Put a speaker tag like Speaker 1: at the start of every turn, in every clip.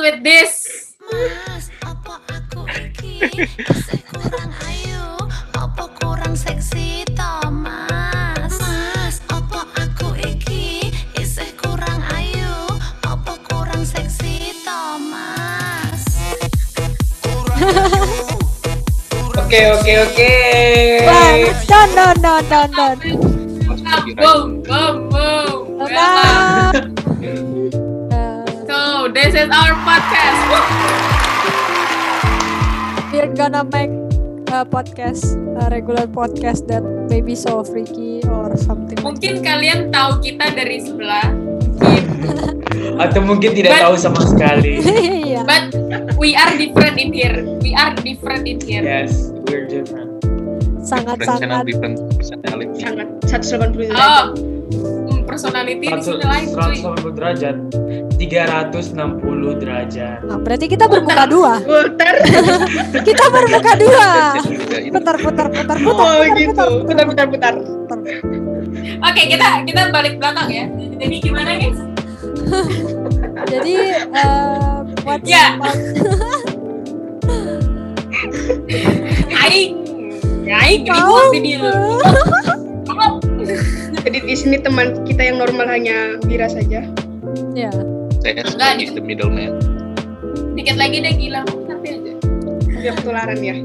Speaker 1: with this.
Speaker 2: Mas, apa aku iki Sing kurang ayu Apa kurang seksi to mas Mas, apa aku iki Isih kurang ayu Apa kurang seksi to mas
Speaker 3: Oke oke oke.
Speaker 4: Wah, don don don don don.
Speaker 1: Boom, boom, boom. Welcome.
Speaker 4: Welcome.
Speaker 1: So this is our podcast. Woo.
Speaker 4: We're eh, gonna make a podcast, a regular podcast that maybe so freaky or something. like
Speaker 1: Mungkin kalian tahu kita dari sebelah, Mungkin.
Speaker 3: Atau mungkin tidak
Speaker 1: But-
Speaker 3: tahu sama sekali.
Speaker 4: that. Iya.
Speaker 1: but we are different in here. We are different in here.
Speaker 3: Yes, we're different.
Speaker 4: Sangat-sangat
Speaker 5: different personality.
Speaker 6: sangat 180 derajat.
Speaker 1: Oh, hmm, personality di sini lain, cuy.
Speaker 3: 180 derajat, 360 derajat.
Speaker 4: Nah, berarti kita bermuka dua.
Speaker 6: Putar.
Speaker 4: Kita bermuka dua.
Speaker 5: Dan juga itu
Speaker 4: Putar, putar, putar, putar.
Speaker 6: Oh gitu. Putar putar putar.
Speaker 1: Oke, kita kita balik belakang ya. Jadi gimana guys?
Speaker 4: Jadi, eh, what's
Speaker 1: Ya.
Speaker 4: up?
Speaker 1: Aing, aing
Speaker 4: Mau?
Speaker 1: ribut ini loh.
Speaker 6: Jadi di sini teman kita yang normal hanya Bira saja.
Speaker 4: Ya.
Speaker 5: saya sebagai the middleman.
Speaker 1: Dikit lagi deh gila, nanti aja.
Speaker 6: Biar ketularan ya.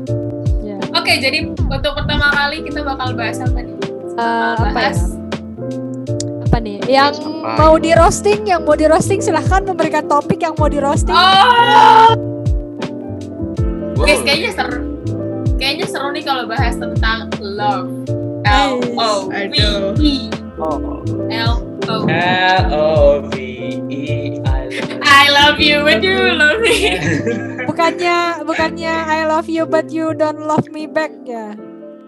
Speaker 4: Ya.
Speaker 1: Oke, jadi untuk pertama kali kita bakal bahas apa nih?
Speaker 4: Eh, apa ya?
Speaker 1: Bahas
Speaker 4: Apa nih? Yang
Speaker 5: Apa?
Speaker 4: mau di roasting, yang mau di roasting silahkan memberikan topik yang mau di roasting.
Speaker 1: Oh, guys, kayaknya seru. Kayaknya seru nih kalau bahas tentang love. L O V E
Speaker 3: Oh.
Speaker 1: L O. E.
Speaker 3: L O V E I love.
Speaker 1: I love you, when you love me.
Speaker 4: Bukannya bukannya I love you but you don't love me back ya.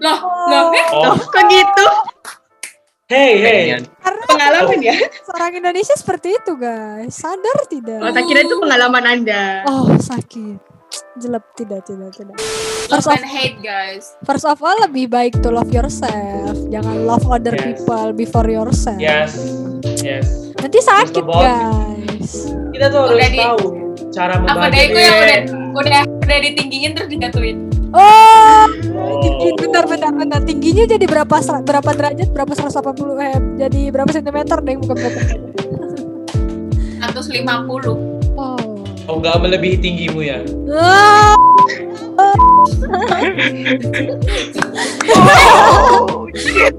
Speaker 1: Loh, loh, eh,
Speaker 3: Oh.
Speaker 6: Kok gitu?
Speaker 3: Hey hey.
Speaker 5: Kayaknya
Speaker 4: Karena
Speaker 6: Pengalaman ya?
Speaker 4: seorang Indonesia seperti itu guys. Sadar
Speaker 6: Oh,
Speaker 4: tidak?
Speaker 6: tak kira itu pengalaman Anda.
Speaker 4: Oh sakit. Jelek tidak tidak tidak.
Speaker 1: love
Speaker 4: First of,
Speaker 1: and hate guys.
Speaker 4: first of all lebih baik to love yourself. Jangan love other
Speaker 3: Yes.
Speaker 4: people before yourself.
Speaker 3: Yes. Yes.
Speaker 4: Nanti sakit
Speaker 3: First of all,
Speaker 4: guys.
Speaker 3: kita tuh harus
Speaker 1: Udah di-
Speaker 3: tahu cara
Speaker 1: Apa
Speaker 3: membagi
Speaker 1: deh, gue yang udah udah udah ditinggiin terus digatuin.
Speaker 4: Oh,
Speaker 3: Oh.
Speaker 4: tinggi bentar bentar bentar tingginya jadi berapa ser- berapa derajat berapa 180 eh jadi berapa sentimeter deh bukan berapa.
Speaker 1: 150.
Speaker 4: Oh.
Speaker 3: oh nggak melebihi tinggimu ya
Speaker 4: Ah.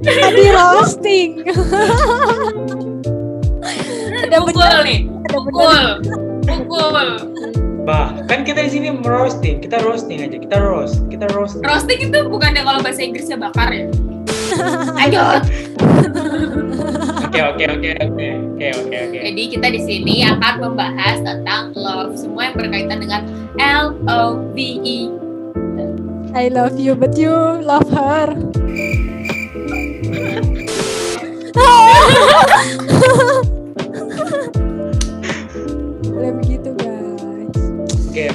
Speaker 4: Tadi roasting. Ada
Speaker 1: Pukul
Speaker 4: bener,
Speaker 1: nih,
Speaker 4: ada bener.
Speaker 1: pukul. Pukul.
Speaker 3: bah kan kita di sini roasting kita roasting aja kita roast kita roasting
Speaker 1: Roasting itu bukannya kalau bahasa Inggrisnya bakar ya?
Speaker 6: Ayo.
Speaker 3: oke oke oke oke oke oke oke
Speaker 1: Jadi kita di sini akan membahas tentang love, semua yang berkaitan dengan L O V E.
Speaker 4: I love you but you love her. Boleh begitu guys.
Speaker 3: oke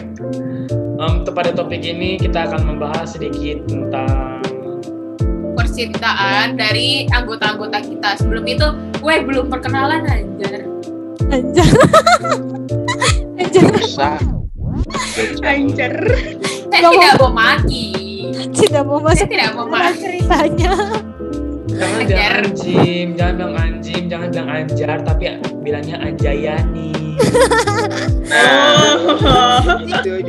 Speaker 3: Em, pada topik ini kita akan membahas sedikit tentang
Speaker 1: Percintaan dari anggota-anggota kita. Sebelum itu, weh belum perkenalan anjir.
Speaker 4: Anjir. Anjir.
Speaker 5: susah.
Speaker 6: Anjir.
Speaker 1: Saya
Speaker 4: Gak
Speaker 1: tidak mau maki.
Speaker 4: Tidak mau
Speaker 1: Saya
Speaker 4: masuk
Speaker 1: tidak mau
Speaker 4: dalam
Speaker 1: maki.
Speaker 4: ceritanya.
Speaker 3: jangan
Speaker 1: Anjar.
Speaker 3: bilang anjim jangan bilang anjim jangan bilang anjar tapi bilangnya anjayani
Speaker 6: Oh.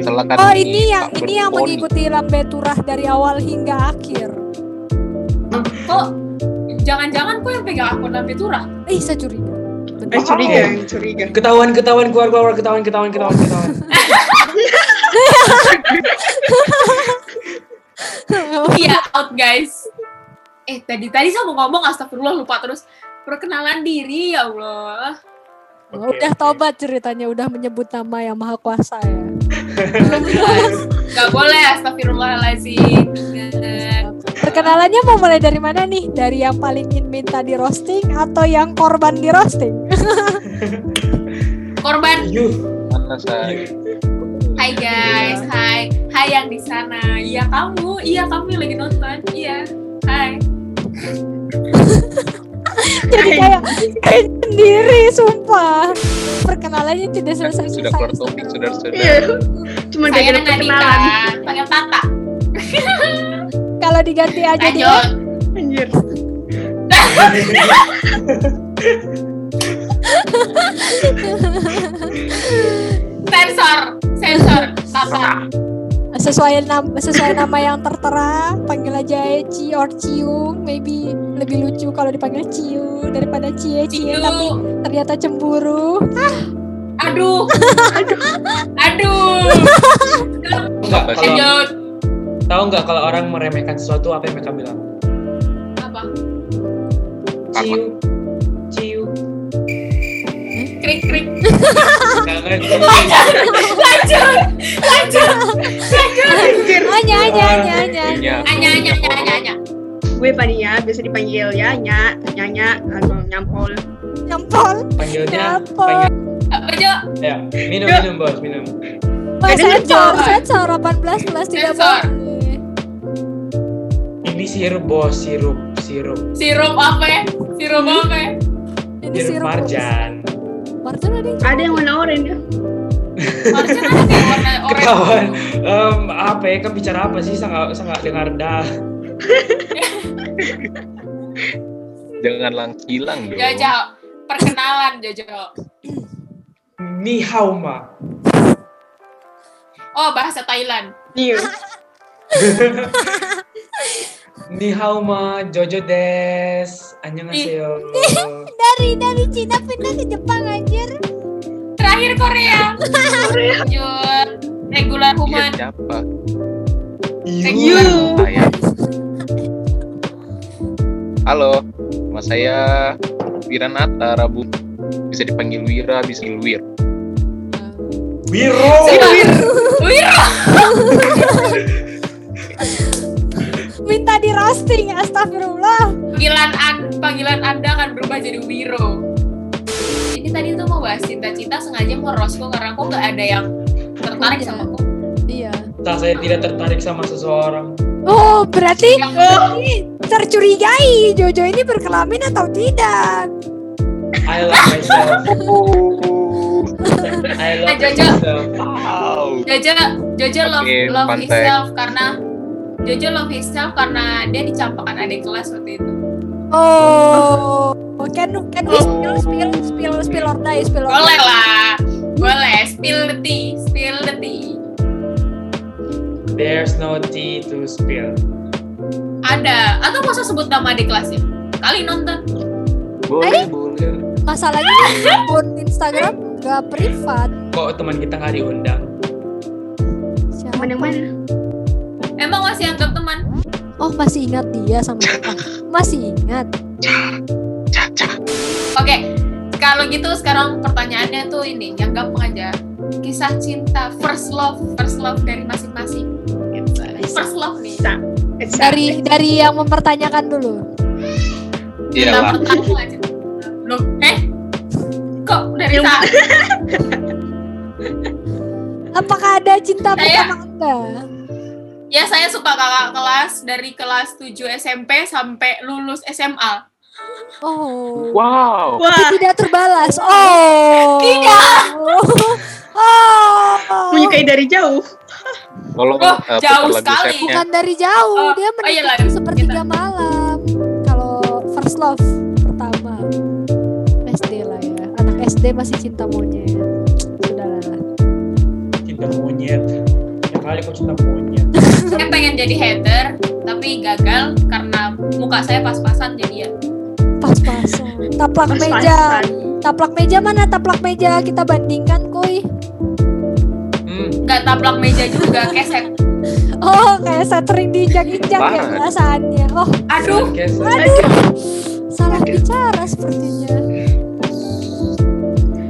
Speaker 5: Selatan
Speaker 4: Oh ini yang
Speaker 5: tak
Speaker 4: ini yang
Speaker 5: berponi.
Speaker 4: mengikuti lambe turah dari awal hingga akhir.
Speaker 1: Kok jangan-jangan kok yang pegang akun Lambe Turah?
Speaker 4: Ih saya curiga.
Speaker 6: Eh, curiga, curiga.
Speaker 3: ketahuan ketahuan keluar keluar ketahuan ketahuan ketahuan ketahuan
Speaker 1: Iya, out guys. Eh tadi tadi saya mau ngomong astagfirullah lupa terus perkenalan diri ya Allah.
Speaker 4: Oh, udah tobat ceritanya udah menyebut nama yang maha kuasa ya.
Speaker 1: Gak boleh astagfirullahalazim. Ingat.
Speaker 4: Perkenalannya mau mulai dari mana nih? Dari yang paling in minta di roasting atau yang korban di roasting?
Speaker 1: Korban
Speaker 3: yuh
Speaker 5: Mana saya?
Speaker 4: Iya,
Speaker 1: Hai guys, hai, hai yang di sana. Iya kamu, iya kamu yang lagi nonton. Iya, hai.
Speaker 4: Jadi kayak kayak kayak sendiri sumpah perkenalannya tidak selesai
Speaker 5: sudah keluar
Speaker 4: selesai.
Speaker 5: topik saudara-saudara
Speaker 6: Iya. Cuma
Speaker 1: Saya
Speaker 6: gara-gara
Speaker 1: Nadita,
Speaker 6: perkenalan.
Speaker 1: panggil Tata.
Speaker 4: kalau diganti aja dia
Speaker 1: Lanjut.
Speaker 6: Anjir.
Speaker 1: Sensor, sensor, Tata.
Speaker 4: sesuai nama sesuai nama yang tertera panggil aja Eci or Ciu maybe lebih lucu kalau dipanggil Ciu daripada Cie Cie Iya, tapi
Speaker 1: Ciu.
Speaker 4: ternyata cemburu
Speaker 1: Aduh. Aduh.
Speaker 3: Enggak,
Speaker 5: Apa sih?
Speaker 3: kalau-
Speaker 1: Lanjut.
Speaker 3: Tahu nggak kalau orang meremehkan sesuatu apa yang mereka bilang?
Speaker 1: Apa?
Speaker 5: Takut.
Speaker 3: Ciu, ciu.
Speaker 1: Krik krik.
Speaker 4: Ah.
Speaker 3: Nggak ngerti.
Speaker 6: Anjir.
Speaker 4: hanya hanya hanya
Speaker 3: iya.
Speaker 4: hanya
Speaker 5: punya
Speaker 1: Anya anya anya anya anya.
Speaker 6: Gue Fania, biasa dipanggil ya, Nya, Nyanya, anu, Nyampol.
Speaker 4: nyampol
Speaker 3: Panggilnya, panggil.
Speaker 4: Kenapa?
Speaker 1: Apa Jo?
Speaker 3: Ya, minum minum bos, minum.
Speaker 4: Wah,
Speaker 6: Jadi
Speaker 4: Oh, sensor
Speaker 1: lucu.
Speaker 4: sensor 18 plus tidak
Speaker 1: Sensor.
Speaker 4: boleh
Speaker 3: Ini sirup bos, sirup, sirup,
Speaker 1: Sirup apa? ya? Sirup apa? ya?
Speaker 4: ini
Speaker 3: sirup
Speaker 4: sirup
Speaker 3: marjan.
Speaker 4: marjan ada yang
Speaker 6: Ada yang warna oranye.
Speaker 1: Harusnya kan ada warna
Speaker 3: Ketahuan.
Speaker 1: oranye.
Speaker 3: Em, apa ya? Kan bicara apa sih? Saya nggak saya nggak dengar dah.
Speaker 5: jangan lang hilang dong
Speaker 1: Jojo. Perkenalan Jojo.
Speaker 3: Ni hao ma.
Speaker 1: Oh bahasa Thailand.
Speaker 6: Iya.
Speaker 3: Ni hao ma, Jojo des. Annyeonghaseyo.
Speaker 4: dari dari Cina pindah ke Jepang anjir
Speaker 1: Terakhir Korea. Lanjut. Regular
Speaker 5: Iya,
Speaker 1: human.
Speaker 5: siapa
Speaker 1: Regular.
Speaker 6: You.
Speaker 5: saya halo nama saya Wiranata Rabu bisa dipanggil Wira bisa dipanggil Wir
Speaker 3: Biro.
Speaker 1: Wiro.
Speaker 4: minta di roasting astagfirullah
Speaker 1: Panggilan an- panggilan Anda akan berubah jadi Wiro. Jadi tadi tuh mau bahas cinta-cinta sengaja mau rosku karena aku nggak ada yang tertarik sama aku.
Speaker 4: iya
Speaker 3: Saat saya tidak tertarik sama seseorang.
Speaker 4: oh berarti
Speaker 1: Yang Oh.
Speaker 4: tercurigai Jojo ini berkelamin atau tidak
Speaker 3: I love myself. I
Speaker 1: Eh,
Speaker 3: love
Speaker 1: Jojo.
Speaker 3: myself.
Speaker 5: wow
Speaker 1: Jojo, Jojo love,
Speaker 5: Oke,
Speaker 1: love
Speaker 5: pantai.
Speaker 1: himself karena Jojo love himself karena dia dicampakan adik kelas waktu itu.
Speaker 4: Oh, can can we spill spill spill spill or die spill or
Speaker 1: Boleh
Speaker 4: die?
Speaker 1: lah, boleh. Spill the tea, spill the tea.
Speaker 3: There's no tea to spill.
Speaker 1: Ada. Atau masa sebut nama adik kelasnya? Kali nonton.
Speaker 5: boleh boleh
Speaker 4: Masalahnya akun Instagram gak privat.
Speaker 3: Kok teman kita nggak diundang?
Speaker 4: Siapa?
Speaker 6: Teman yang mana?
Speaker 1: Emang masih anggap teman?
Speaker 4: Oh masih ingat dia sama kita. Masih ingat.
Speaker 1: Oke. Kalau gitu sekarang pertanyaannya tuh ini, yang gampang aja. Kisah cinta, first love, first love dari masing-masing. Gitu. First love nih.
Speaker 6: Bisa. It's
Speaker 4: Dari dari yang mempertanyakan dulu.
Speaker 5: iya
Speaker 1: Cinta
Speaker 5: lah
Speaker 1: pertama aja. Loh, eh? Kok dari
Speaker 6: Yang-
Speaker 1: saat?
Speaker 4: Apakah ada cinta
Speaker 1: Saya-
Speaker 4: pertama anda?
Speaker 1: Ya saya suka kakak kelas dari kelas 7 SMP sampai lulus SMA.
Speaker 4: Oh.
Speaker 5: wow
Speaker 6: Wah,
Speaker 4: Tidak terbalas. Oh.
Speaker 1: Tidak.
Speaker 4: Oh.
Speaker 6: menyukai dari jauh.
Speaker 5: tolong
Speaker 1: Oh,
Speaker 5: eh,
Speaker 1: jauh
Speaker 5: putar lagu
Speaker 1: sekali.
Speaker 5: setnya
Speaker 4: Bukan
Speaker 6: Ya.
Speaker 4: dari jauh,
Speaker 1: Oh,
Speaker 4: dia
Speaker 1: oh iya lah,
Speaker 4: menikmati sepertiga malam. Kalau first love pertama SD lah ya. Anak SD masih cinta monyet. Sudahlah.
Speaker 3: Cinta monyet. Ya kali kok cinta monyet.
Speaker 1: Saya pengen jadi hater tapi gagal karena muka saya pas-pasan jadi ya.
Speaker 4: Pas-pasan. Taplak meja.
Speaker 6: Pas-pasan.
Speaker 4: Taplak meja mana? Taplak meja kita bandingkan, kuy.
Speaker 3: Hmm,
Speaker 1: Nggak taplak meja juga keset.
Speaker 4: Oh, kayak sering diinjak-injak ya
Speaker 5: Banget.
Speaker 4: perasaannya. Oh,
Speaker 1: Aduh,
Speaker 3: podcast.
Speaker 4: aduh. Salah bicara sepertinya.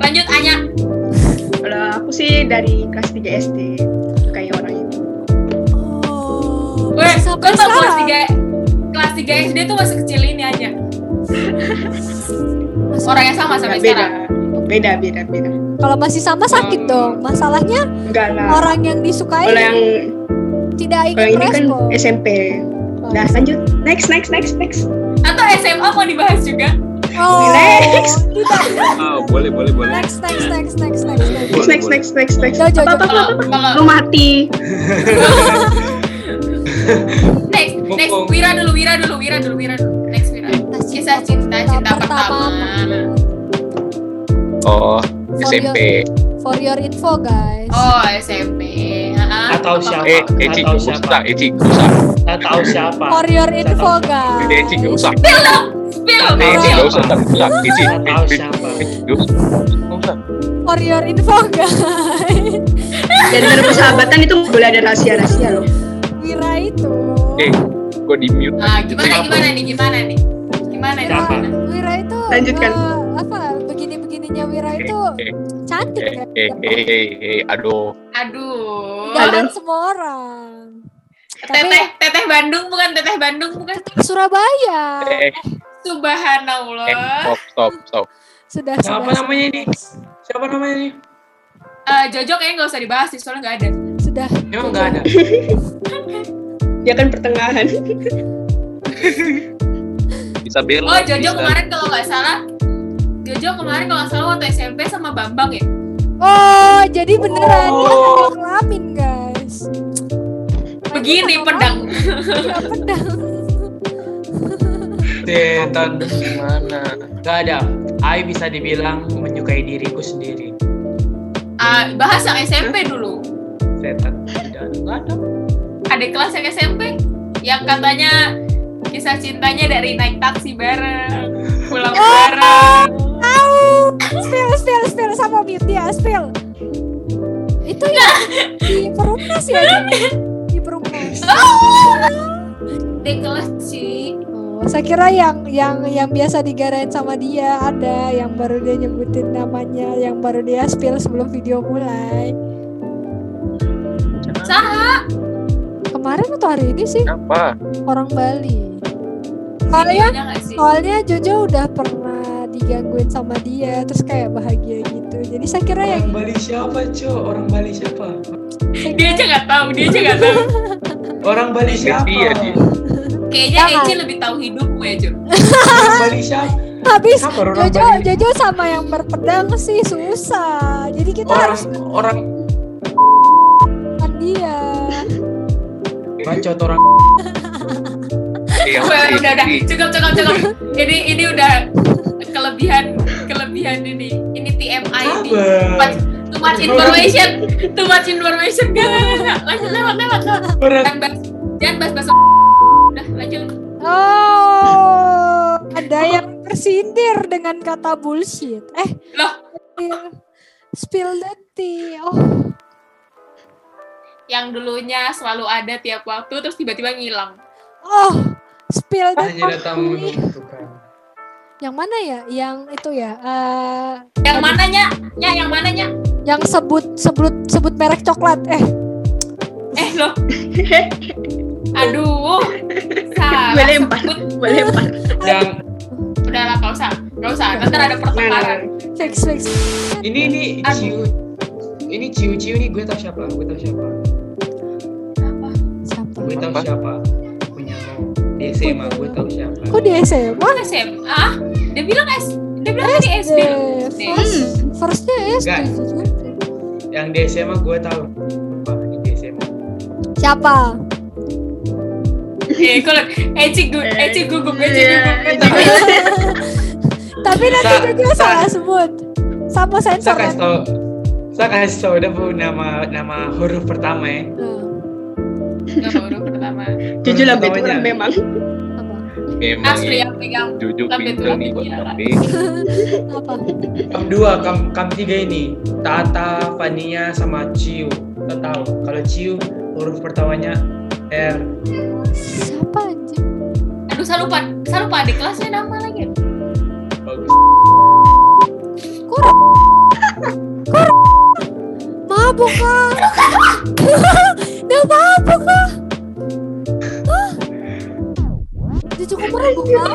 Speaker 1: lanjut Anya.
Speaker 6: Kalau aku sih dari kelas 3 SD. Kayak orang itu.
Speaker 4: Oh.
Speaker 1: Weh,
Speaker 4: bisa
Speaker 1: kok tau kelas
Speaker 4: sekarang.
Speaker 1: 3 kelas 3 SD tuh masih kecil ini Anya.
Speaker 4: Masih-
Speaker 1: Orangnya sama
Speaker 6: Nggak,
Speaker 1: sampai
Speaker 6: beda.
Speaker 1: sekarang.
Speaker 6: Beda, beda, beda.
Speaker 4: Kalau masih sama sakit
Speaker 3: Hmm.
Speaker 4: dong. Masalahnya
Speaker 6: Enggak lah.
Speaker 4: orang yang disukai
Speaker 6: Kalau yang
Speaker 4: tidak
Speaker 6: kalau
Speaker 4: ingin
Speaker 6: ini kan
Speaker 4: respon.
Speaker 6: SMP.
Speaker 3: Nah,
Speaker 6: Nah, lanjut. Next, next, next, next.
Speaker 1: Atau SMA mau dibahas juga?
Speaker 4: Oh,
Speaker 6: Next.
Speaker 4: aduh tak.
Speaker 5: Ah, boleh, boleh, boleh.
Speaker 4: Next, next, next, next, next, next.
Speaker 5: Boleh,
Speaker 6: next,
Speaker 5: boleh.
Speaker 6: next, next, next.
Speaker 4: Jauh, jauh,
Speaker 6: Apa, apa, apa,
Speaker 1: Kalau
Speaker 6: apa?
Speaker 1: kalau
Speaker 6: Lu mati.
Speaker 1: next next
Speaker 5: Mumpung.
Speaker 1: Wira dulu Wira dulu Wira dulu Wira dulu next Wira. Kisah cinta cinta pertama.
Speaker 5: Oh, SMP.
Speaker 1: iya.
Speaker 4: For your info guys.
Speaker 1: Oh SMP. Ah,
Speaker 3: Atau
Speaker 1: apa-
Speaker 3: siapa?
Speaker 5: Eh, Eci,
Speaker 3: Atau
Speaker 5: gak
Speaker 3: siapa?
Speaker 5: usah, Eci, gak usah.
Speaker 3: Nggak tahu siapa.
Speaker 4: For your
Speaker 3: Nggak
Speaker 4: info
Speaker 3: tahu.
Speaker 4: guys.
Speaker 5: Udah, Eci, gak usah.
Speaker 1: Spill
Speaker 5: Eh, Eci,
Speaker 1: spill.
Speaker 5: gak usah, gak usah. Eci,
Speaker 3: Nggak tahu
Speaker 5: Eci,
Speaker 3: siapa.
Speaker 5: Eci, gak usah. Gak usah.
Speaker 4: For your info guys.
Speaker 6: Dari dari persahabatan itu boleh ada rahasia-rahasia loh.
Speaker 4: Wira itu.
Speaker 5: Eh, gue di mute. Eh,
Speaker 1: Ah, gimana gimana nih gimana nih gimana nih?
Speaker 3: Siapa?
Speaker 1: gimana?
Speaker 4: Wira itu.
Speaker 6: Lanjutkan.
Speaker 4: eh, apa begini-begininya Wira
Speaker 5: Eh,
Speaker 4: itu
Speaker 5: eh,
Speaker 4: cantik
Speaker 5: eh,
Speaker 4: kan?
Speaker 5: eh, eh, eh, eh, aduh.
Speaker 1: Aduh.
Speaker 4: Jangan semua orang.
Speaker 1: Teteh Teteh Bandung bukan Teteh Bandung bukan.
Speaker 4: Surabaya.
Speaker 5: Eh, eh,
Speaker 1: Subhanallah.
Speaker 5: stop, stop, stop.
Speaker 4: Sudah
Speaker 3: Siapa
Speaker 4: sudah,
Speaker 3: namanya ini? Siapa namanya ini?
Speaker 1: Eh, Jojo kayaknya nggak usah dibahas sih soalnya nggak ada. Oh,
Speaker 4: Sudah.
Speaker 3: Emang nggak ada.
Speaker 6: Ya kan pertengahan.
Speaker 5: Bisa bela.
Speaker 1: Oh Jojo
Speaker 5: bisa.
Speaker 1: kemarin kalau nggak salah Jojo kemarin kalau nggak salah waktu SMP sama Bambang ya.
Speaker 4: Oh, jadi beneran dia
Speaker 3: Oh.
Speaker 4: hamil kelamin, guys.
Speaker 1: Begini pedang.
Speaker 4: Iya, pedang.
Speaker 3: Gitu Setan mana? ya, Gak ada. I bisa dibilang menyukai diriku sendiri.
Speaker 4: Hmm.
Speaker 1: Ah, bahas yang SMP dulu.
Speaker 3: Setan tidak ada. Nggak ada.
Speaker 1: Ada kelas yang SMP yang katanya kisah cintanya dari naik taksi bareng, pulang
Speaker 4: Oh,
Speaker 1: bareng.
Speaker 4: Au. Spill, spill, spill sama mute dia, spill. Itu ya di perumnas ya. Di, di perumnas.
Speaker 1: Ada Ah! kelas sih.
Speaker 4: Oh, saya kira yang yang yang biasa digarain sama dia ada yang baru dia nyebutin namanya, yang baru dia spill sebelum video mulai.
Speaker 1: Saha.
Speaker 4: Kemarin atau hari ini sih
Speaker 5: Kenapa?
Speaker 4: orang Bali. Soalnya
Speaker 1: Videonya nggak sih?
Speaker 4: Soalnya Jojo udah pernah digangguin sama dia, terus kayak bahagia gitu. Jadi saya kira yang
Speaker 3: Orang Bali siapa, Cok? Orang Bali siapa?
Speaker 1: Dia aja nggak tahu, dia aja nggak tahu.
Speaker 3: Orang Bali siapa?
Speaker 5: Iya, dia.
Speaker 1: Kayaknya
Speaker 4: Jangan.
Speaker 1: Eci lebih tahu hidupmu ya Jo.
Speaker 3: Orang Bali siapa?
Speaker 4: habis
Speaker 3: Kenapa orang
Speaker 4: Jojo
Speaker 3: Bali?
Speaker 4: Jojo sama yang berpedang sih susah. Jadi kita
Speaker 3: Orang
Speaker 4: harus
Speaker 3: orang
Speaker 4: lawan dia.
Speaker 3: bacot orang
Speaker 5: Iya,
Speaker 1: Udah,
Speaker 5: Eci,
Speaker 1: udah, udah.
Speaker 5: Eci.
Speaker 1: Cukup, cukup, cukup. Jadi ini udah kelebihan, kelebihan ini. Ini TMI ini.
Speaker 3: sabar.
Speaker 1: Too much information, too much information. Gak, gak, gak, gak. Lanjut, lewat, lewat, lewat.
Speaker 3: Orang
Speaker 1: Jangan bahas, jangan bahas bahas. Udah, lanjut.
Speaker 4: Oh, ada yang tersindir dengan kata bullshit. Eh,
Speaker 1: Loh,
Speaker 4: spill, spill the tea. Oh,
Speaker 1: yang dulunya selalu ada tiap waktu, terus tiba-tiba ngilang.
Speaker 4: oh, spill the
Speaker 3: hanya datang
Speaker 4: tea.
Speaker 3: menentukan.
Speaker 4: Yang mana ya? Yang itu ya. eh,
Speaker 1: Yang mananya? Ya, yang mananya?
Speaker 4: yang sebut sebut sebut merek coklat. Eh,
Speaker 1: Eh, loh. Aduh. Salah.
Speaker 6: Gue lempar.
Speaker 1: sebut.
Speaker 6: Gue lempar.
Speaker 3: Yang
Speaker 1: Udah lah, gak usah. Gak usah, nanti ada pertengkaran.
Speaker 6: Nah,
Speaker 4: fix fix.
Speaker 3: ini ini ciu ini ciu ciu nih gue tahu siapa gue tahu siapa
Speaker 1: Apa?
Speaker 4: Siapa?
Speaker 3: gue tahu
Speaker 5: Apa?
Speaker 3: siapa punya lo di SMA gue tahu siapa
Speaker 4: Kok di SMA?
Speaker 1: Mana SMA? Dia bilang S. Dia bilang tadi SD.
Speaker 4: Eh, First, firstnya SD.
Speaker 3: Hmm. Enggak. yang di SMA gue tahu Lupa, ini di SMA
Speaker 4: Siapa?
Speaker 1: Eh, kalau Eci gu- Eci gugup, Eci gugup.
Speaker 4: Tapi nanti
Speaker 3: Sa-
Speaker 4: juga
Speaker 3: sa-
Speaker 4: salah sebut. Sama sensor
Speaker 3: saya kasih
Speaker 4: nanti.
Speaker 3: tau saya kasih tau udah bu nama nama huruf pertama ya
Speaker 4: Nah,
Speaker 1: Gak baru pertama.
Speaker 6: Jujur lah, gue
Speaker 3: Namanya.
Speaker 6: tuh memang.
Speaker 4: apa?
Speaker 5: Memang
Speaker 1: Asli yang pegang
Speaker 5: Jojo
Speaker 1: Lambe
Speaker 5: pinter
Speaker 1: tulang
Speaker 5: nih buat
Speaker 1: gila.
Speaker 5: tapi
Speaker 4: Apa?
Speaker 3: kam dua kam kam tiga ini Tata Fania sama Ciu Lo tahu kalau Ciu huruf pertamanya R
Speaker 4: Siapa anjing?
Speaker 1: Aduh, saya lupa, saya lupa di kelasnya nama lagi.
Speaker 3: bagus
Speaker 4: Kurang. Kurang. Mabuk kah? Dia mabuk kah? Hah? Dia cukup mabuk kah?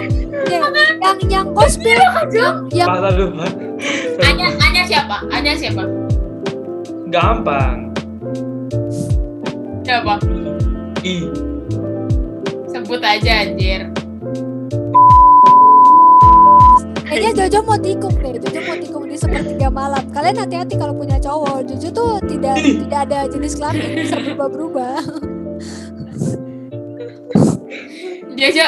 Speaker 4: Ya, yang yang kospil yang yang
Speaker 3: Masa lupa
Speaker 1: Anya, Anya siapa? Anya siapa?
Speaker 3: gampang
Speaker 1: Siapa?
Speaker 3: I
Speaker 1: Sebut aja anjir.
Speaker 4: Kayaknya Jojo mau tikung deh. Jojo mau tikung di sepertiga malam. Kalian hati-hati kalau punya cowok. Jojo tuh tidak tidak ada jenis kelamin bisa berubah-berubah.
Speaker 1: Jojo,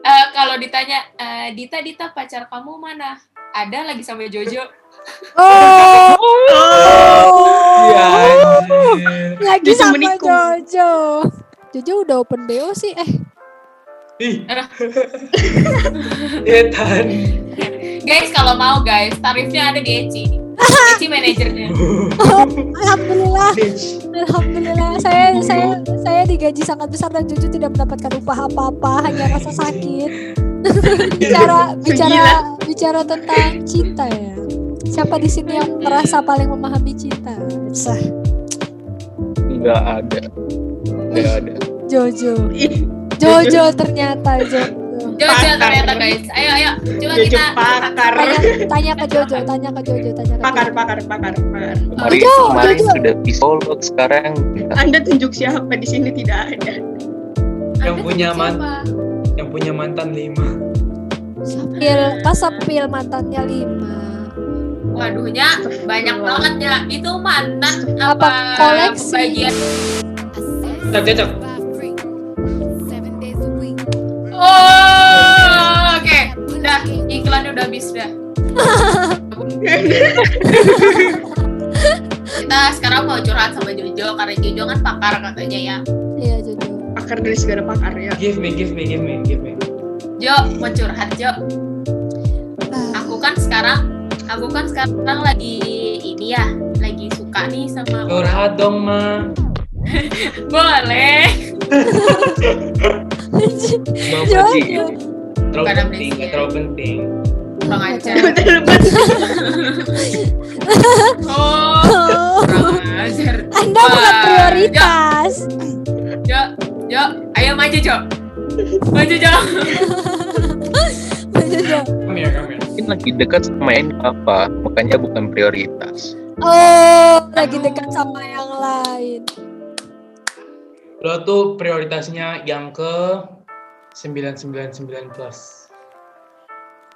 Speaker 1: eh, kalau ditanya, eh, Dita, Dita pacar kamu mana? Ada lagi sama Jojo.
Speaker 4: Oh.
Speaker 3: Iya, anjir.
Speaker 4: Lagi
Speaker 6: Jojo
Speaker 4: sama
Speaker 6: menikung.
Speaker 4: Jojo. Jojo udah open BO sih. Eh,
Speaker 3: Ih.
Speaker 1: Aduh.
Speaker 3: Iya, Etan.
Speaker 1: Guys, kalau mau guys, tarifnya ada di Eci. Eci manajernya.
Speaker 4: alhamdulillah.
Speaker 3: Bitch.
Speaker 4: Alhamdulillah, saya saya saya digaji sangat besar dan Jojo tidak mendapatkan upah apa-apa, hanya rasa sakit. bicara bicara bicara tentang cinta ya. Siapa di sini yang merasa paling memahami cinta? Sah,
Speaker 5: nggak ada nggak ada
Speaker 4: Jojo.
Speaker 6: Ih,
Speaker 4: Jojo ternyata Jojo.
Speaker 1: Jojo
Speaker 6: Pakar.
Speaker 1: ternyata guys. Ayo, ayo. Coba
Speaker 6: Jojo
Speaker 1: kita
Speaker 6: pakar.
Speaker 4: Tanya, tanya ke Jojo, tanya ke Jojo, tanya ke
Speaker 6: Pakar,
Speaker 4: Jojo.
Speaker 6: pakar, pakar, pakar.
Speaker 5: kemarin
Speaker 4: Jojo,
Speaker 5: kemarin
Speaker 4: Jojo.
Speaker 5: sudah psikolog sekarang
Speaker 6: Anda tunjuk siapa di sini tidak ada.
Speaker 3: Yang
Speaker 1: Anda
Speaker 3: punya
Speaker 1: siapa?
Speaker 3: man- Yang punya mantan lima.
Speaker 4: Pil, masa pil mantannya lima.
Speaker 1: Waduh, Nya, banyak banget ya. Itu mantan apa,
Speaker 4: Apa koleksi?
Speaker 1: Bagian.
Speaker 3: Cocok, cocok.
Speaker 1: Oh, oke. Udah, iklannya udah habis dah. Kita sekarang mau curhat sama Jojo karena Jojo kan pakar katanya ya.
Speaker 4: Iya Jojo.
Speaker 6: Pakar dari segala pakar ya.
Speaker 3: Give me, give me, give me, give me.
Speaker 1: Jo, mau curhat Jo.
Speaker 4: Ah,
Speaker 1: Aku kan sekarang, aku kan sekarang lagi ini ya, lagi suka nih sama
Speaker 3: Curhat dong, Ma.
Speaker 1: Boleh.
Speaker 3: Nggak
Speaker 4: Jojo.
Speaker 5: Iya.
Speaker 3: terlalu
Speaker 1: Bukan
Speaker 3: penting, nggak
Speaker 1: amnesia.
Speaker 3: terlalu penting.
Speaker 1: Bang Ajar.
Speaker 6: Terlepas
Speaker 1: Oh, kurang ajar.
Speaker 4: Anda bukan
Speaker 1: Wah,
Speaker 4: prioritas.
Speaker 1: Jo, Jo, ayo maju Jo. Maju Jo.
Speaker 4: Jojo.
Speaker 3: Come here, come here.
Speaker 5: mungkin lagi dekat sama yang apa makanya bukan prioritas
Speaker 4: Oh, lagi dekat sama yang lain.
Speaker 3: Lo tuh prioritasnya yang ke 999 plus.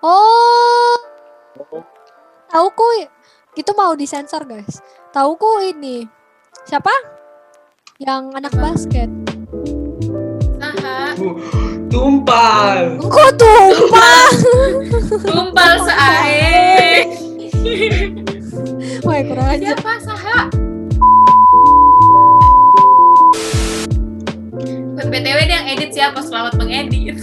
Speaker 4: Oh. Tahu ku itu mau disensor, guys. Tahu ku ini. Siapa? Yang anak basket.
Speaker 1: Saha,
Speaker 3: Tumpal.
Speaker 4: Kok tumpah?
Speaker 1: tumpal seae.
Speaker 4: Wah, kurang aja.
Speaker 1: Siapa Saha? BTW dia yang edit siapa? Selamat mengedit.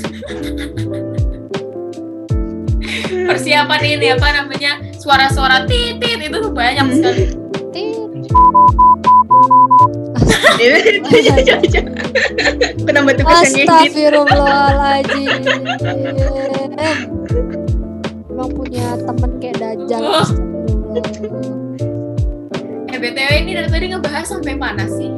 Speaker 1: Persiapan ini apa namanya? Suara-suara titit itu tuh banyak sekali.
Speaker 6: Kenapa tuh pesannya gitu?
Speaker 4: Astagfirullahaladzim. Emang punya temen kayak Dajjal.
Speaker 1: Oh.
Speaker 4: Astagfirullah.
Speaker 1: Eh BTW ini dari tadi ngebahas sampai mana sih?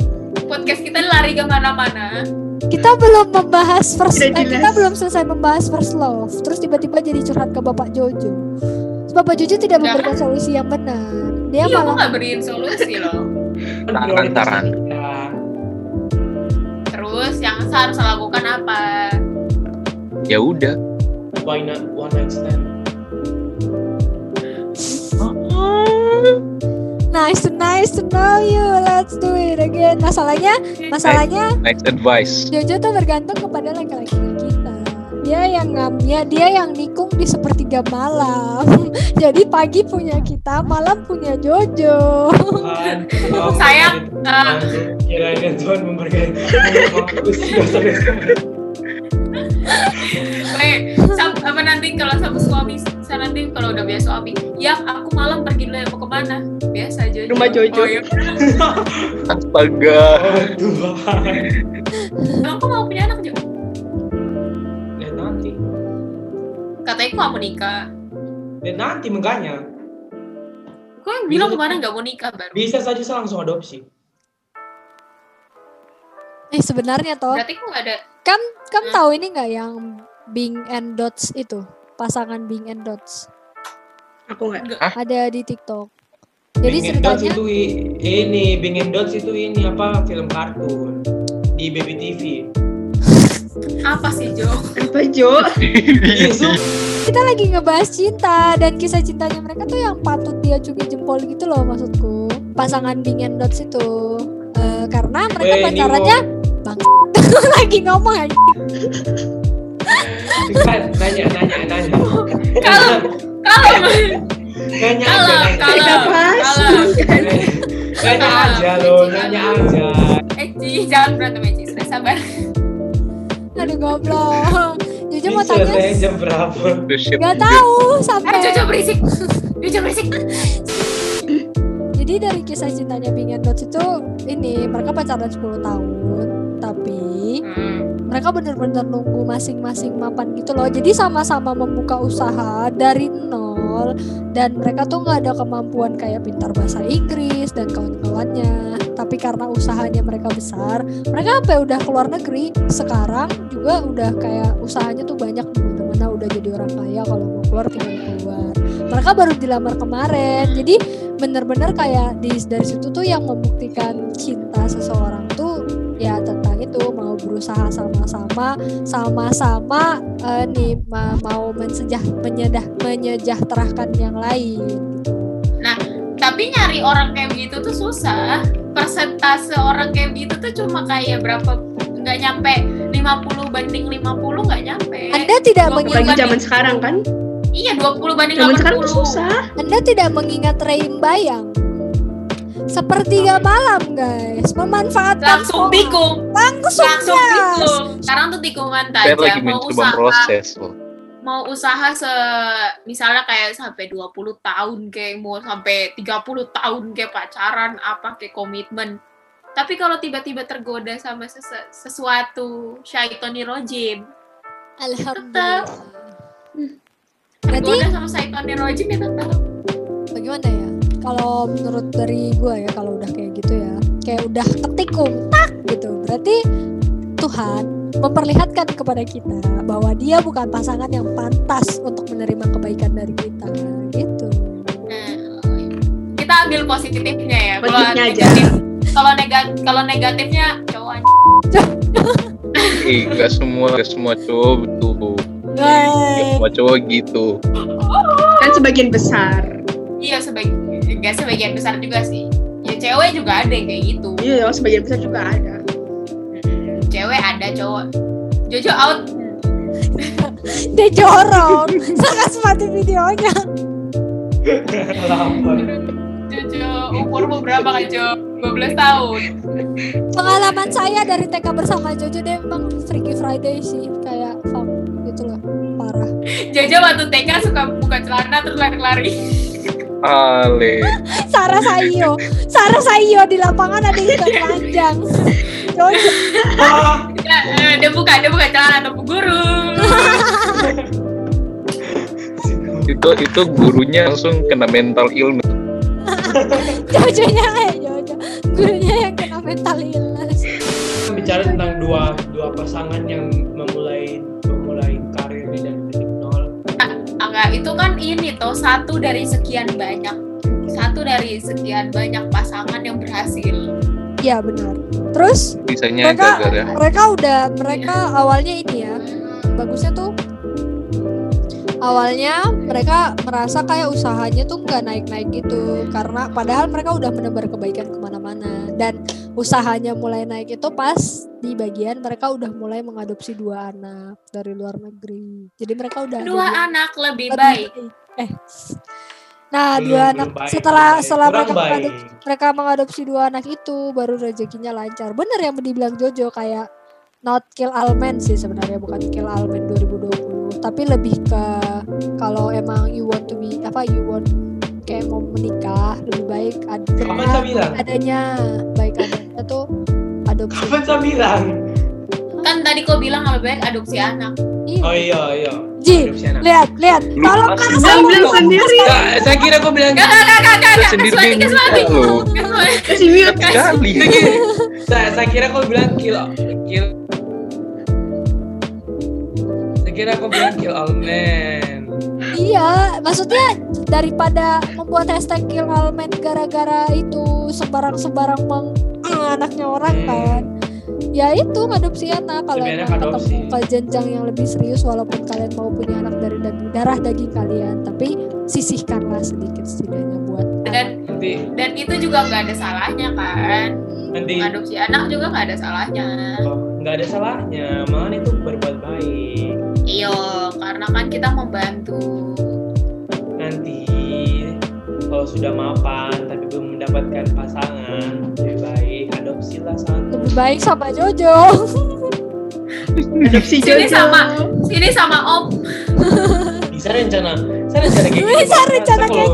Speaker 1: Podcast kita lari kemana-mana.
Speaker 4: kita belum membahas first
Speaker 6: Tidak
Speaker 4: eh,
Speaker 6: jelas.
Speaker 4: kita belum selesai membahas first love terus tiba-tiba jadi curhat ke bapak Jojo Terus bapak Jojo tidak
Speaker 1: Jangan.
Speaker 4: memberikan solusi yang benar dia
Speaker 1: Iya, aku
Speaker 4: malah
Speaker 1: nggak beriin solusi loh.
Speaker 5: Tahan, tahan.
Speaker 3: Kan kita.
Speaker 1: Terus yang saya harus lakukan apa?
Speaker 5: ya udah
Speaker 3: Why not one night stand?
Speaker 4: nice to nice to know you let's do it again masalahnya masalahnya
Speaker 5: next advice
Speaker 4: Jojo tuh bergantung kepada laki-laki kita dia yang ngamnya dia yang nikung di sepertiga malam jadi pagi punya kita malam punya Jojo
Speaker 3: Tuhan, tolong
Speaker 1: Sayang,
Speaker 3: memberkati
Speaker 1: eh.
Speaker 4: ah.
Speaker 3: Tuhan. Kiranya Tuhan memberkati memberkati dosa-dosa.
Speaker 1: Eh, sam- apa nanti kalau sama suami? Saya nanti kalau udah biasa suami, ya aku malam pergi dulu ya mau kemana? Biasa Jojo.
Speaker 6: Rumah Jojo.
Speaker 1: Oh, iya.
Speaker 5: astaga
Speaker 3: Oh Tuhan.
Speaker 1: Aku mau punya anak Jojo.
Speaker 3: Ya nanti,
Speaker 1: Katanya aku nggak mau nikah.
Speaker 3: ya nanti makanya
Speaker 1: Gue yang bilang kemarin nggak mau nikah baru.
Speaker 3: bisa saja saya langsung adopsi.
Speaker 4: eh sebenarnya toh
Speaker 1: Berarti aku nggak ada.
Speaker 4: Kam, kam
Speaker 1: Hmm.
Speaker 4: tahu ini nggak yang Bing and Dots itu pasangan Bing and Dots
Speaker 6: Aku nggak.
Speaker 4: ada di TikTok. Jadi
Speaker 3: Bing and Dots
Speaker 4: ceritanya
Speaker 3: itu i- ini Bing and Dots itu ini apa film kartun di Baby TV.
Speaker 1: Apa sih Jo?
Speaker 6: Kenapa Jo?
Speaker 3: Iya, Su.
Speaker 4: kita lagi ngebahas cinta dan kisah cintanya mereka tuh yang patut diacungi jempol gitu loh maksudku. Pasangan Bingen Dots itu Eh, karena mereka
Speaker 3: Weh, ini
Speaker 4: pacarannya bang lagi ngomong aja.
Speaker 3: Kan, nanya, nanya, nanya.
Speaker 1: Kalau- kalau
Speaker 3: nanya aja,
Speaker 1: kalau kalau kalau
Speaker 3: nanya.
Speaker 6: Eh,
Speaker 3: nanya aja loh, nanya aja.
Speaker 1: Eci Eh, jangan berantem Eci sudah sabar
Speaker 4: Aduh goblok. Jujur
Speaker 3: Ini
Speaker 4: mau tanya
Speaker 3: selesai jam berapa?
Speaker 5: Bullshit.
Speaker 4: nggak tahu
Speaker 1: eh Jojo
Speaker 4: sampai.
Speaker 1: berisik Jojo berisik
Speaker 4: Jadi dari kisah cintanya Bingen Dots itu ini mereka pacaran 10 tahun tapi
Speaker 1: Hmm.
Speaker 4: mereka bener-bener nunggu masing-masing mapan gitu loh jadi sama-sama membuka usaha dari nol dan mereka tuh nggak ada kemampuan kayak pintar bahasa Inggris dan kawan-kawannya tapi karena usahanya mereka besar mereka sampai udah keluar negeri sekarang juga udah kayak usahanya tuh banyak di mana-mana udah jadi orang kaya kalau mau keluar tinggal keluar mereka baru dilamar kemarin jadi bener-bener kayak di dari situ tuh yang membuktikan cinta seseorang tuh ya tentang itu mau berusaha sama-sama sama-sama eh, nih ma- mau mensejah menyedah menyejahterakan yang lain gitu.
Speaker 1: tapi nyari orang kayak begitu tuh susah persentase orang kayak begitu tuh cuma kayak berapa nggak nyampe 50 banding 50 nggak nyampe
Speaker 4: Anda tidak
Speaker 1: Bukan
Speaker 6: Apalagi
Speaker 4: mengingat
Speaker 1: Bukan.
Speaker 6: zaman sekarang kan.
Speaker 1: iya 20 banding
Speaker 6: Zaman sekarang
Speaker 1: 80
Speaker 6: tuh susah.
Speaker 4: Anda tidak mengingat Reim Bayang sepertiga malam guys memanfaatkan
Speaker 1: langsung
Speaker 4: momen.
Speaker 1: tikung
Speaker 4: langsung,
Speaker 1: langsung
Speaker 4: yes.
Speaker 1: tikung sekarang tuh tikungan
Speaker 5: Saya
Speaker 1: tajam
Speaker 5: lagi
Speaker 1: mau
Speaker 5: mencoba
Speaker 1: usaha
Speaker 5: proses loh.
Speaker 1: mau usaha se misalnya kayak sampai 20 tahun kayak mau sampai 30 tahun kayak pacaran apa kayak komitmen tapi kalau tiba-tiba tergoda sama sese- sesuatu syaitoni rojim
Speaker 4: Alhamdulillah. Berarti-
Speaker 1: tergoda sama syaitoni rojim ya tetap
Speaker 4: Bagaimana ya? Kalau menurut dari gua ya kalau udah kayak gitu ya, kayak udah ketikung tak gitu. Berarti Tuhan memperlihatkan kepada kita bahwa dia bukan pasangan yang pantas untuk menerima kebaikan dari kita gitu.
Speaker 1: Nah, kita ambil positifnya ya kalau
Speaker 6: Positifnya aja.
Speaker 1: negatif kalau negatif kalau negatifnya cowok aja.
Speaker 5: Eh, gak semua, gak semua cowok betul. Gak
Speaker 4: Baik.
Speaker 5: semua cowok gitu.
Speaker 6: Kan sebagian besar.
Speaker 1: iya sebagian enggak sebagian besar juga sih ya cewek juga ada yang kayak gitu
Speaker 6: Iya, sebagian besar juga ada.
Speaker 1: Mm, cewek ada cowok Jojo out
Speaker 4: Dia jorong. Sangat semati videonya.
Speaker 3: Lapar.
Speaker 1: Jojo umurmu berapa kan Jo 12 tahun
Speaker 4: Pengalaman saya dari TK bersama Jojo dia memang Freaky Friday sih kayak fuck gitu loh parah.
Speaker 1: Jojo waktu TK suka buka celana terus lari-lari
Speaker 5: Ale.
Speaker 4: Sarah Sayo, Sarah Sayo di lapangan ada yang ikut telanjang. Jojo,
Speaker 3: Ah,
Speaker 1: dia, eh, dia buka dia buka celana atau guru
Speaker 5: Itu itu gurunya langsung kena mental illness.
Speaker 4: Jojonya eh Jojo, gurunya yang kena mental illness.
Speaker 3: Kita bicara tentang dua dua pasangan yang memulai memulai karirnya dari titik nol.
Speaker 1: Angga itu kan ini toh satu dari sekian banyak satu dari sekian banyak pasangan yang berhasil
Speaker 4: Iya benar. Terus
Speaker 5: Bisanya
Speaker 4: Kakak.
Speaker 5: gagal ya.
Speaker 4: mereka udah mereka awalnya ini ya bagusnya tuh awalnya mereka merasa kayak usahanya tuh nggak naik-naik gitu karena padahal mereka udah menebar kebaikan kemana-mana dan usahanya mulai naik itu pas di bagian mereka udah mulai mengadopsi dua anak dari luar negeri jadi mereka udah ada
Speaker 1: dua anak lebih
Speaker 4: lebih
Speaker 1: baik
Speaker 4: eh nah
Speaker 3: Belum-
Speaker 4: dua
Speaker 3: belum
Speaker 4: anak
Speaker 3: baik.
Speaker 4: setelah setelah
Speaker 3: Kurang
Speaker 4: mereka
Speaker 3: baik.
Speaker 4: mengadopsi mereka mengadopsi dua anak itu baru rezekinya lancar bener yang dibilang Jojo kayak not kill almen sih sebenarnya bukan kill almen 2020 tapi lebih ke kalau emang you want to be apa you want kayak mau menikah lebih baik ad-
Speaker 3: Kapan saya bilang?
Speaker 4: adanya baik adanya tuh adopsi
Speaker 3: Kapan saya bilang?
Speaker 1: kan tadi kau bilang lebih baik adopsi anak
Speaker 3: Oh iya iya.
Speaker 4: Ji
Speaker 3: Adopsi anak.
Speaker 4: lihat lihat
Speaker 5: Lu
Speaker 4: kalau
Speaker 5: kan masih
Speaker 4: karena
Speaker 6: Bilang
Speaker 4: saya
Speaker 6: bilang
Speaker 4: mau-
Speaker 6: sendiri.
Speaker 3: Nggak, saya kira kau bilang
Speaker 1: Gak, gak, gak, gak,
Speaker 5: Lu
Speaker 1: gak,
Speaker 5: sendiri
Speaker 1: Kesuai,
Speaker 5: yang
Speaker 1: kesuai.
Speaker 5: enggak loh.
Speaker 1: Kesuai.
Speaker 6: Kasih mute.
Speaker 5: Sekali.
Speaker 3: saya, saya kira kau bilang kill kill. Saya kira kau bilang kill all men.
Speaker 4: Iya, maksudnya daripada membuat hashtag kill all men gara-gara itu sembarang-sembarang meng anaknya orang eh, kan. ya itu ngadopsi anak kalau
Speaker 3: Hmm. Lebih enak
Speaker 4: emang ketemu
Speaker 3: adopsi.
Speaker 4: ke jenjang yang lebih serius walaupun kalian mau punya anak dari daging darah daging kalian tapi sisihkanlah sedikit setidaknya buat
Speaker 1: dan
Speaker 3: nanti
Speaker 1: dan itu juga nggak ada salahnya kan
Speaker 3: nanti
Speaker 1: adopsi anak juga nggak ada salahnya
Speaker 3: oh, nggak ada salahnya malah itu berbuat baik
Speaker 1: iyo karena kan kita membantu
Speaker 3: nanti kalau sudah mapan tapi belum mendapatkan pasangan lebih baik adopsilah sangat
Speaker 4: lebih baik sama Jojo
Speaker 6: Adopsi
Speaker 1: Sini
Speaker 6: Jojo.
Speaker 1: sama- sini sama om
Speaker 3: bisa rencana saya rencana kayak gitu
Speaker 4: Bisa rencana
Speaker 3: Saya kalau-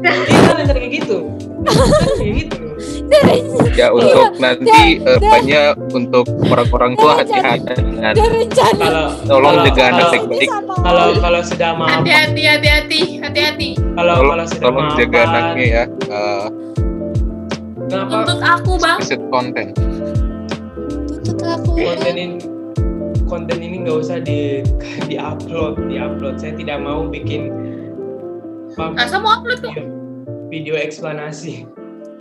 Speaker 3: bisa rencana kayak gitu Bisa kayak gitu
Speaker 4: dari
Speaker 5: Ya untuk nanti eh, banyak untuk orang-orang tua
Speaker 4: Jangan,
Speaker 5: hati-hati dengan
Speaker 4: dari rencana
Speaker 3: kalau
Speaker 5: tolong
Speaker 3: kalau-
Speaker 5: jaga anak
Speaker 3: kalau-
Speaker 5: baik-baik.
Speaker 4: ini sama
Speaker 3: kalau kalau sudah mapan
Speaker 1: hati-hati hati-hati hati-hati
Speaker 3: kalau
Speaker 5: tolong,
Speaker 3: kalau sudah
Speaker 5: tolong jaga anaknya
Speaker 3: mapan
Speaker 5: ya. Eh,
Speaker 3: kenapa
Speaker 1: tuntut aku bang
Speaker 5: explicit content.
Speaker 4: tuntut aku
Speaker 3: konten ini konten ini nggak usah di di upload di upload saya tidak mau bikin apa,
Speaker 1: Nah, saya mau upload kok
Speaker 3: video, video eksplanasi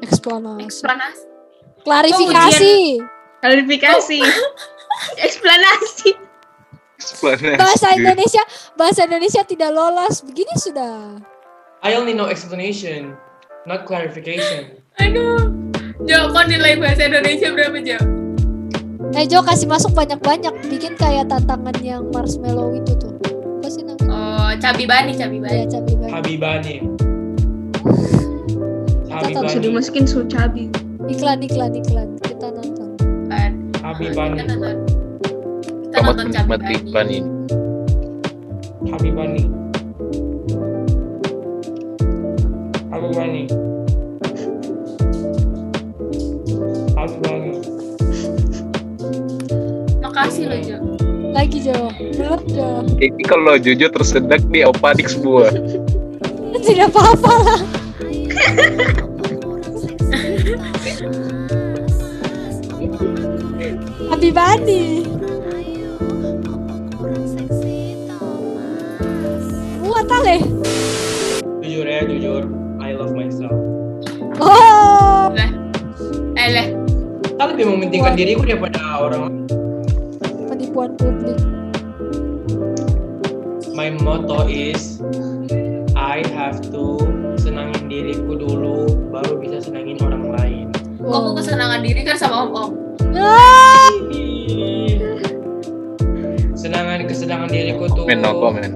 Speaker 4: eksplanasi
Speaker 1: Eksplanasi.
Speaker 4: klarifikasi
Speaker 6: Klarifikasi. Eksplanasi.
Speaker 5: Explanasi.
Speaker 4: bahasa
Speaker 3: Iya,
Speaker 4: Indonesia bahasa Indonesia tidak lolos begini sudah
Speaker 3: I only know explanation not clarification
Speaker 1: aduh Jo, kau nilai bahasa Indonesia berapa Jo?
Speaker 4: eh Jo kasih masuk banyak banyak bikin kayak tantangan yang marshmallow itu tuh apa sih namanya
Speaker 1: Oh, cabi bani, cabi bani.
Speaker 4: ya cabai banyak
Speaker 3: Habibani
Speaker 4: Langsung
Speaker 6: Sudah
Speaker 3: Habibani
Speaker 6: masukin sucabi.
Speaker 4: iklan iklan iklan kita nonton
Speaker 1: Kan.
Speaker 3: Habibani
Speaker 1: Kita nonton. Kita
Speaker 5: Selamat
Speaker 1: nonton cabi
Speaker 5: menikmati
Speaker 1: bani.
Speaker 5: Bani.
Speaker 3: Habibani Habibani Habibani
Speaker 1: Makasih loh Jo.
Speaker 4: lagi Jo belum Jo
Speaker 5: Ini kalau Jojo tersedak di opadik semua.
Speaker 4: tidak apa apa lah Abi Bani buat ale
Speaker 3: jujur ya jujur I love myself
Speaker 4: oh
Speaker 1: Eh, leh.
Speaker 3: Tapi lebih mementingkan diriku daripada orang lain.
Speaker 4: penipuan publik
Speaker 3: My motto is I have to senangin diriku dulu baru bisa senangin orang lain.
Speaker 1: Kamu kesenangan diri kan sama Om Om.
Speaker 4: Ah,
Speaker 3: Senangan kesenangan diriku tuh
Speaker 5: Komen no comment.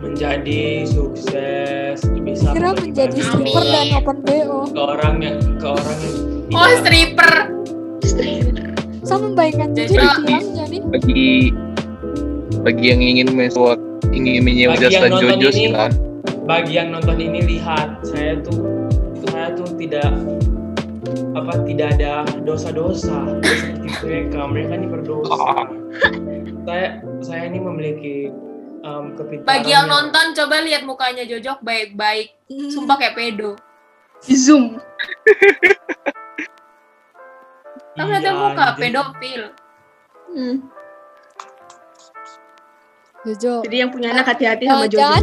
Speaker 3: menjadi sukses bisa
Speaker 4: kira
Speaker 3: membagi
Speaker 4: menjadi
Speaker 3: bagi
Speaker 4: stripper dan open bo
Speaker 3: ke orang yang ke orang yang
Speaker 1: Oh,
Speaker 3: tidak-
Speaker 1: stripper.
Speaker 4: saya membayangkan
Speaker 1: Jadi
Speaker 4: Jojo di
Speaker 1: lagi.
Speaker 4: tulangnya nih
Speaker 5: Bagi bagi yang ingin menyewa ingin menyewa
Speaker 3: Bagi yang
Speaker 5: jasa
Speaker 3: nonton
Speaker 5: Jojo
Speaker 3: ini-
Speaker 5: silakan.
Speaker 3: bagi yang nonton ini lihat saya tuh saya tuh tidak apa tidak ada dosa-dosa seperti mereka mereka ini berdosa saya saya ini memiliki um, kepintaran
Speaker 1: Bagi yang nonton coba lihat mukanya Jojok baik-baik. Sumpah kayak pedo.
Speaker 6: Di Zoom.
Speaker 3: iya,
Speaker 1: Kamu lihat muka
Speaker 3: gitu.
Speaker 1: pedofil.
Speaker 6: Hmm.
Speaker 4: Jojo
Speaker 6: Jadi yang punya anak hati-hati
Speaker 4: Oh,
Speaker 6: Iya, sama Jojo.
Speaker 4: jangan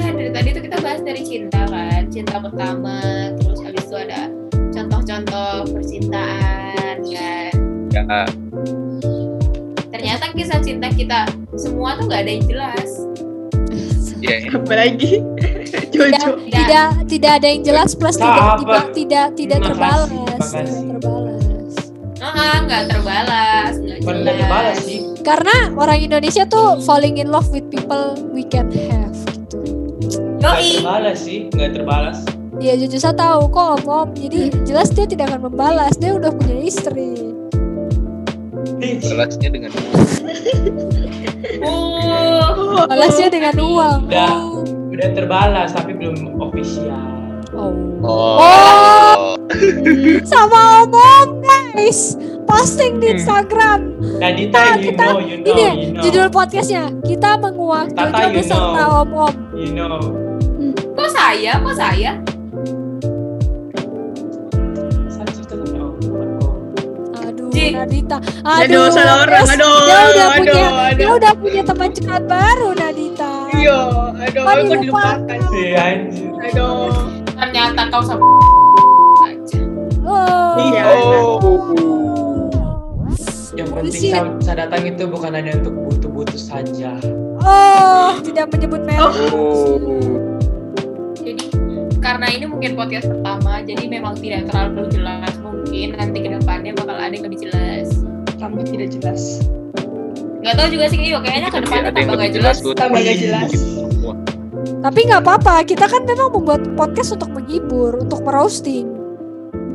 Speaker 1: Nah, dari tadi itu kita bahas dari cinta kan. Cinta pertama, terus habis itu ada contoh-contoh percintaan kan.
Speaker 5: Ya,
Speaker 1: Ternyata kisah cinta kita semua tuh nggak ada yang jelas.
Speaker 5: ya,
Speaker 6: Apalagi
Speaker 4: tidak,
Speaker 6: Jojo.
Speaker 4: tidak tidak ada yang jelas plus tidak
Speaker 3: Sahabat.
Speaker 4: tidak tidak, tidak
Speaker 3: Makasih,
Speaker 4: terbalas
Speaker 3: makasih.
Speaker 4: tidak terbalas
Speaker 1: Ah, nggak terbalas, nggak
Speaker 3: Bukan
Speaker 1: jelas.
Speaker 3: nggak dibalas sih
Speaker 4: karena orang Indonesia tuh falling in love with people we can have gitu
Speaker 3: nggak
Speaker 1: Yoi.
Speaker 3: terbalas sih nggak terbalas
Speaker 4: ya jujur saya tahu kok om om jadi jelas dia tidak akan membalas dia udah punya istri
Speaker 3: Ih,
Speaker 5: balasnya dengan
Speaker 1: Uh,
Speaker 6: Oh.
Speaker 4: balasnya dengan uang
Speaker 3: Udah. udah terbalas tapi belum official
Speaker 4: oh,
Speaker 5: Oh.
Speaker 4: sama om om guys posting di
Speaker 5: Hmm.
Speaker 4: Instagram
Speaker 3: dan itu
Speaker 1: Ah,
Speaker 4: Kita-
Speaker 3: you
Speaker 4: kita-
Speaker 3: know you know
Speaker 4: ini
Speaker 3: you know
Speaker 4: judul podcastnya kita menguak
Speaker 3: Tata,
Speaker 4: Jojo
Speaker 3: you
Speaker 4: beserta
Speaker 3: know.
Speaker 4: om om
Speaker 3: you know
Speaker 1: kok saya, kok saya?
Speaker 3: saya cerita sama aku
Speaker 4: Aduh,
Speaker 1: Ji.
Speaker 4: Nadita.
Speaker 6: Aduh,
Speaker 4: Aduh,
Speaker 6: salah orang.
Speaker 4: Des,
Speaker 6: Aduh,
Speaker 4: Dia udah
Speaker 6: aduh,
Speaker 4: punya, dia
Speaker 6: aduh.
Speaker 4: udah punya teman curhat baru, Nadita.
Speaker 6: Iya, aduh,
Speaker 4: Kok
Speaker 6: aku
Speaker 4: dilupakan?
Speaker 6: dilupakan.
Speaker 3: si Iya, anjir
Speaker 6: Aduh.
Speaker 1: Ternyata kau sama aja.
Speaker 4: Oh.
Speaker 3: Iya.
Speaker 5: Oh.
Speaker 3: Yang
Speaker 4: Itu
Speaker 3: penting kan-
Speaker 4: sih-
Speaker 3: saya, saya datang itu bukan hanya untuk butuh-butuh saja.
Speaker 4: Oh, tidak menyebut merek.
Speaker 5: Oh,
Speaker 1: Jadi karena ini mungkin podcast pertama, jadi memang tidak terlalu jelas mungkin nanti kedepannya bakal ada yang lebih jelas.
Speaker 6: Tambah tidak jelas.
Speaker 1: Nggak tahu juga sih, yuk kayaknya kedepannya
Speaker 5: ada yang
Speaker 1: tambah
Speaker 5: lebih
Speaker 1: nggak
Speaker 5: jelas
Speaker 1: jelas.
Speaker 5: tuh.
Speaker 6: Tambah gak jelas.
Speaker 5: Semua. Nah,
Speaker 4: Tapi nggak apa-apa, kita kan memang membuat podcast untuk menghibur, untuk meroasting.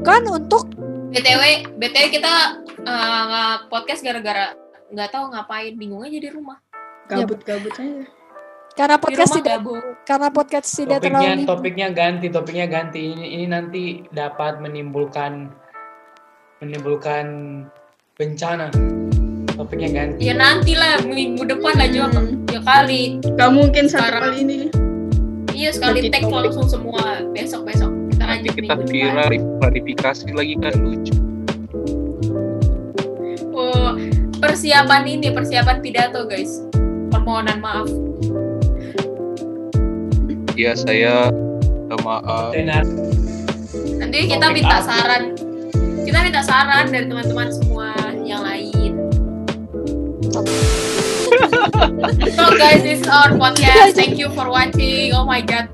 Speaker 4: Bukan untuk
Speaker 1: btw, btw kita eh, nge- podcast gara-gara nggak tahu ngapain, bingung aja di rumah.
Speaker 6: Gabut-gabut aja.
Speaker 4: karena
Speaker 1: Di
Speaker 4: podcast
Speaker 1: rumah
Speaker 6: kan?
Speaker 4: tidak
Speaker 1: gabut.
Speaker 4: karena podcast tidak
Speaker 3: topiknya
Speaker 4: terlalu
Speaker 3: topiknya ganti, topiknya ganti. Ini ini nanti dapat menimbulkan menimbulkan bencana. Topiknya ganti.
Speaker 1: Ya nanti lah minggu depan lah Jo.
Speaker 6: Hmm.
Speaker 1: Ya kali.
Speaker 6: Gak mungkin satu
Speaker 1: Sekarang-
Speaker 6: kali ini.
Speaker 1: Iya sekali
Speaker 6: Bikin
Speaker 1: tag
Speaker 6: topik.
Speaker 1: langsung semua besok-besok. Kita
Speaker 5: Nanti
Speaker 1: lanjut
Speaker 5: kita
Speaker 1: minggu depan.
Speaker 5: viral klarifikasi lagi kan lucu.
Speaker 1: Oh, persiapan ini persiapan pidato guys. Permohonan maaf.
Speaker 5: Ya saya eh, minta maaf.
Speaker 3: Tenar.
Speaker 1: Nanti kita
Speaker 3: Topik
Speaker 1: minta
Speaker 5: ah.
Speaker 3: apa?
Speaker 1: saran. Kita minta saran dari teman-teman semua yang lain. so guys, this is our podcast. Thank you for watching. Oh my god.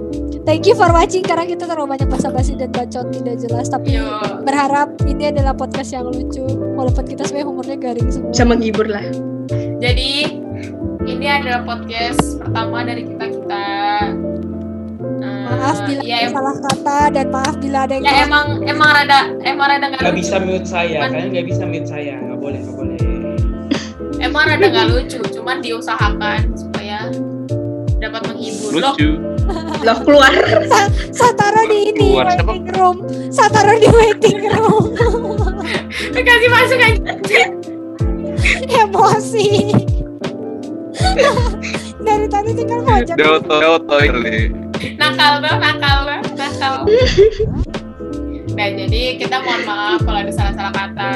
Speaker 4: Thank you for watching karena kita terlalu banyak basa-basi dan bacot tidak jelas tapi
Speaker 6: Iya.
Speaker 1: Yo.
Speaker 4: berharap ini adalah podcast yang lucu walaupun kita sebenarnya humornya garing semua.
Speaker 6: Bisa menghibur lah.
Speaker 1: Jadi ini adalah podcast pertama dari kita kita.
Speaker 4: Maaf bila
Speaker 1: ya,
Speaker 4: ada
Speaker 1: em-
Speaker 4: salah kata dan maaf bila ada yang
Speaker 1: ya emang emang rada emang rada nggak
Speaker 3: Gak
Speaker 1: lucu.
Speaker 4: gitu.
Speaker 3: bisa mute saya,
Speaker 1: Cuman-
Speaker 3: kalian gak bisa mute saya. Gak boleh, gak boleh.
Speaker 1: Emang rada nggak lucu, cuman diusahakan supaya dapat menghibur. Loh,
Speaker 5: Lucu.
Speaker 6: Lah keluar.
Speaker 4: saya taruh di ini
Speaker 5: Keluar siapa?
Speaker 4: waiting room. Saya taruh di waiting room.
Speaker 1: eh, kasih masuk aja.
Speaker 4: Emosi. Dari tadi kan tinggal ngajak.
Speaker 5: Daoto, daoto ini.
Speaker 1: Nakal dong, nakal dong, nakal. Nah, jadi kita mohon maaf kalau ada salah-salah kata.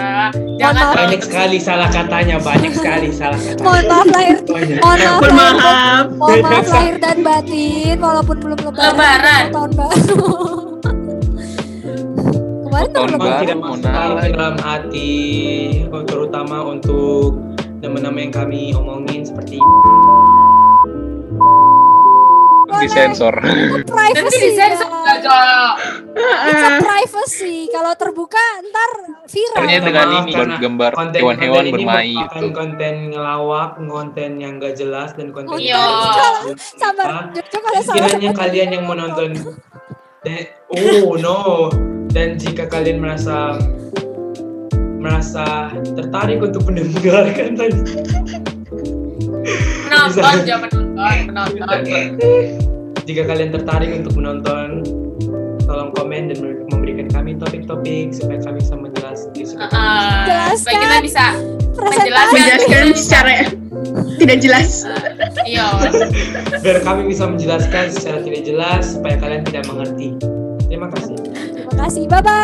Speaker 1: Jangan
Speaker 4: maaf.
Speaker 1: terlalu
Speaker 3: Banyak sekali salah katanya, banyak sekali salah
Speaker 4: Oh. Mohon
Speaker 3: katanya.
Speaker 4: maaf lahir.
Speaker 3: Banyak.
Speaker 4: Mohon maaf.
Speaker 6: Mohon
Speaker 4: lahir-
Speaker 6: maaf.
Speaker 4: Mohon maaf lahir dan batin walaupun belum lebaran.
Speaker 1: Lebaran.
Speaker 4: atau tahun baru. Kemarin
Speaker 5: Tahun
Speaker 3: Memang
Speaker 4: tahun lebaran.
Speaker 5: baru.
Speaker 3: tidak
Speaker 5: Mohon
Speaker 3: masalah
Speaker 5: maaf.
Speaker 3: dalam hati, terutama untuk nama-nama yang kami omongin seperti
Speaker 5: Disensor.
Speaker 3: Iya,
Speaker 1: Nanti
Speaker 4: Privacy.
Speaker 1: disensor nggak,
Speaker 4: ya.
Speaker 1: Jo?
Speaker 4: It's a privacy. Kalau terbuka ntar viral.
Speaker 3: iya,
Speaker 5: Ternyata dengan ini
Speaker 3: Karena
Speaker 5: gambar hewan-hewan
Speaker 3: konten ini
Speaker 5: bermain gitu.
Speaker 3: merupakan
Speaker 5: itu.
Speaker 3: konten ngelawak, konten yang gak jelas dan konten
Speaker 1: Iya.
Speaker 3: yang-
Speaker 4: Oh, Sabar, Jojo kalau salah
Speaker 3: Kiranya kalian yang menonton dan oh no dan jika kalian merasa merasa tertarik untuk mendengarkan dan
Speaker 1: Menonton, jangan menonton, menonton.
Speaker 3: jika kalian tertarik untuk menonton tolong komen dan memberikan kami topik-topik supaya kami bisa menjelaskan supaya kami
Speaker 1: Uh, supaya kita
Speaker 4: Jelaskan.
Speaker 1: bisa
Speaker 4: presentasi.
Speaker 6: Menjelaskan secara tidak jelas.
Speaker 1: iya
Speaker 3: biar kami bisa menjelaskan secara tidak jelas supaya kalian tidak mengerti. Terima kasih.
Speaker 4: Terima kasih. Bye bye.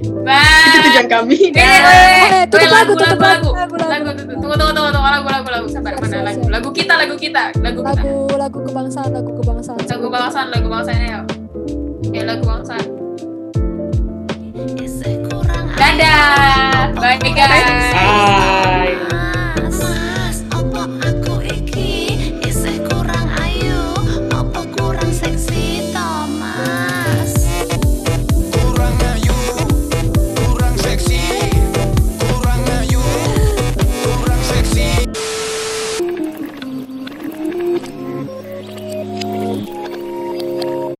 Speaker 6: Itu
Speaker 1: bye
Speaker 6: tujuan kami.
Speaker 4: Eh, tutup lagu,
Speaker 1: lagu,
Speaker 4: tutup
Speaker 1: lagu, lagu,
Speaker 4: lagu, lagu,
Speaker 1: lagu, tunggu, tunggu, tunggu, tunggu, lagu, lagu, lagu, sabar, mana lagu, lagu kita, lagu kita, lagu kita,
Speaker 4: Lagu lagu kebangsaan, lagu kebangsaan.
Speaker 1: lagu bangsaan, lagu bangsaan, ayo, ya lagu bangsaan,
Speaker 2: Isih kurang ayu,
Speaker 1: dadah, bye guys.
Speaker 3: Bye.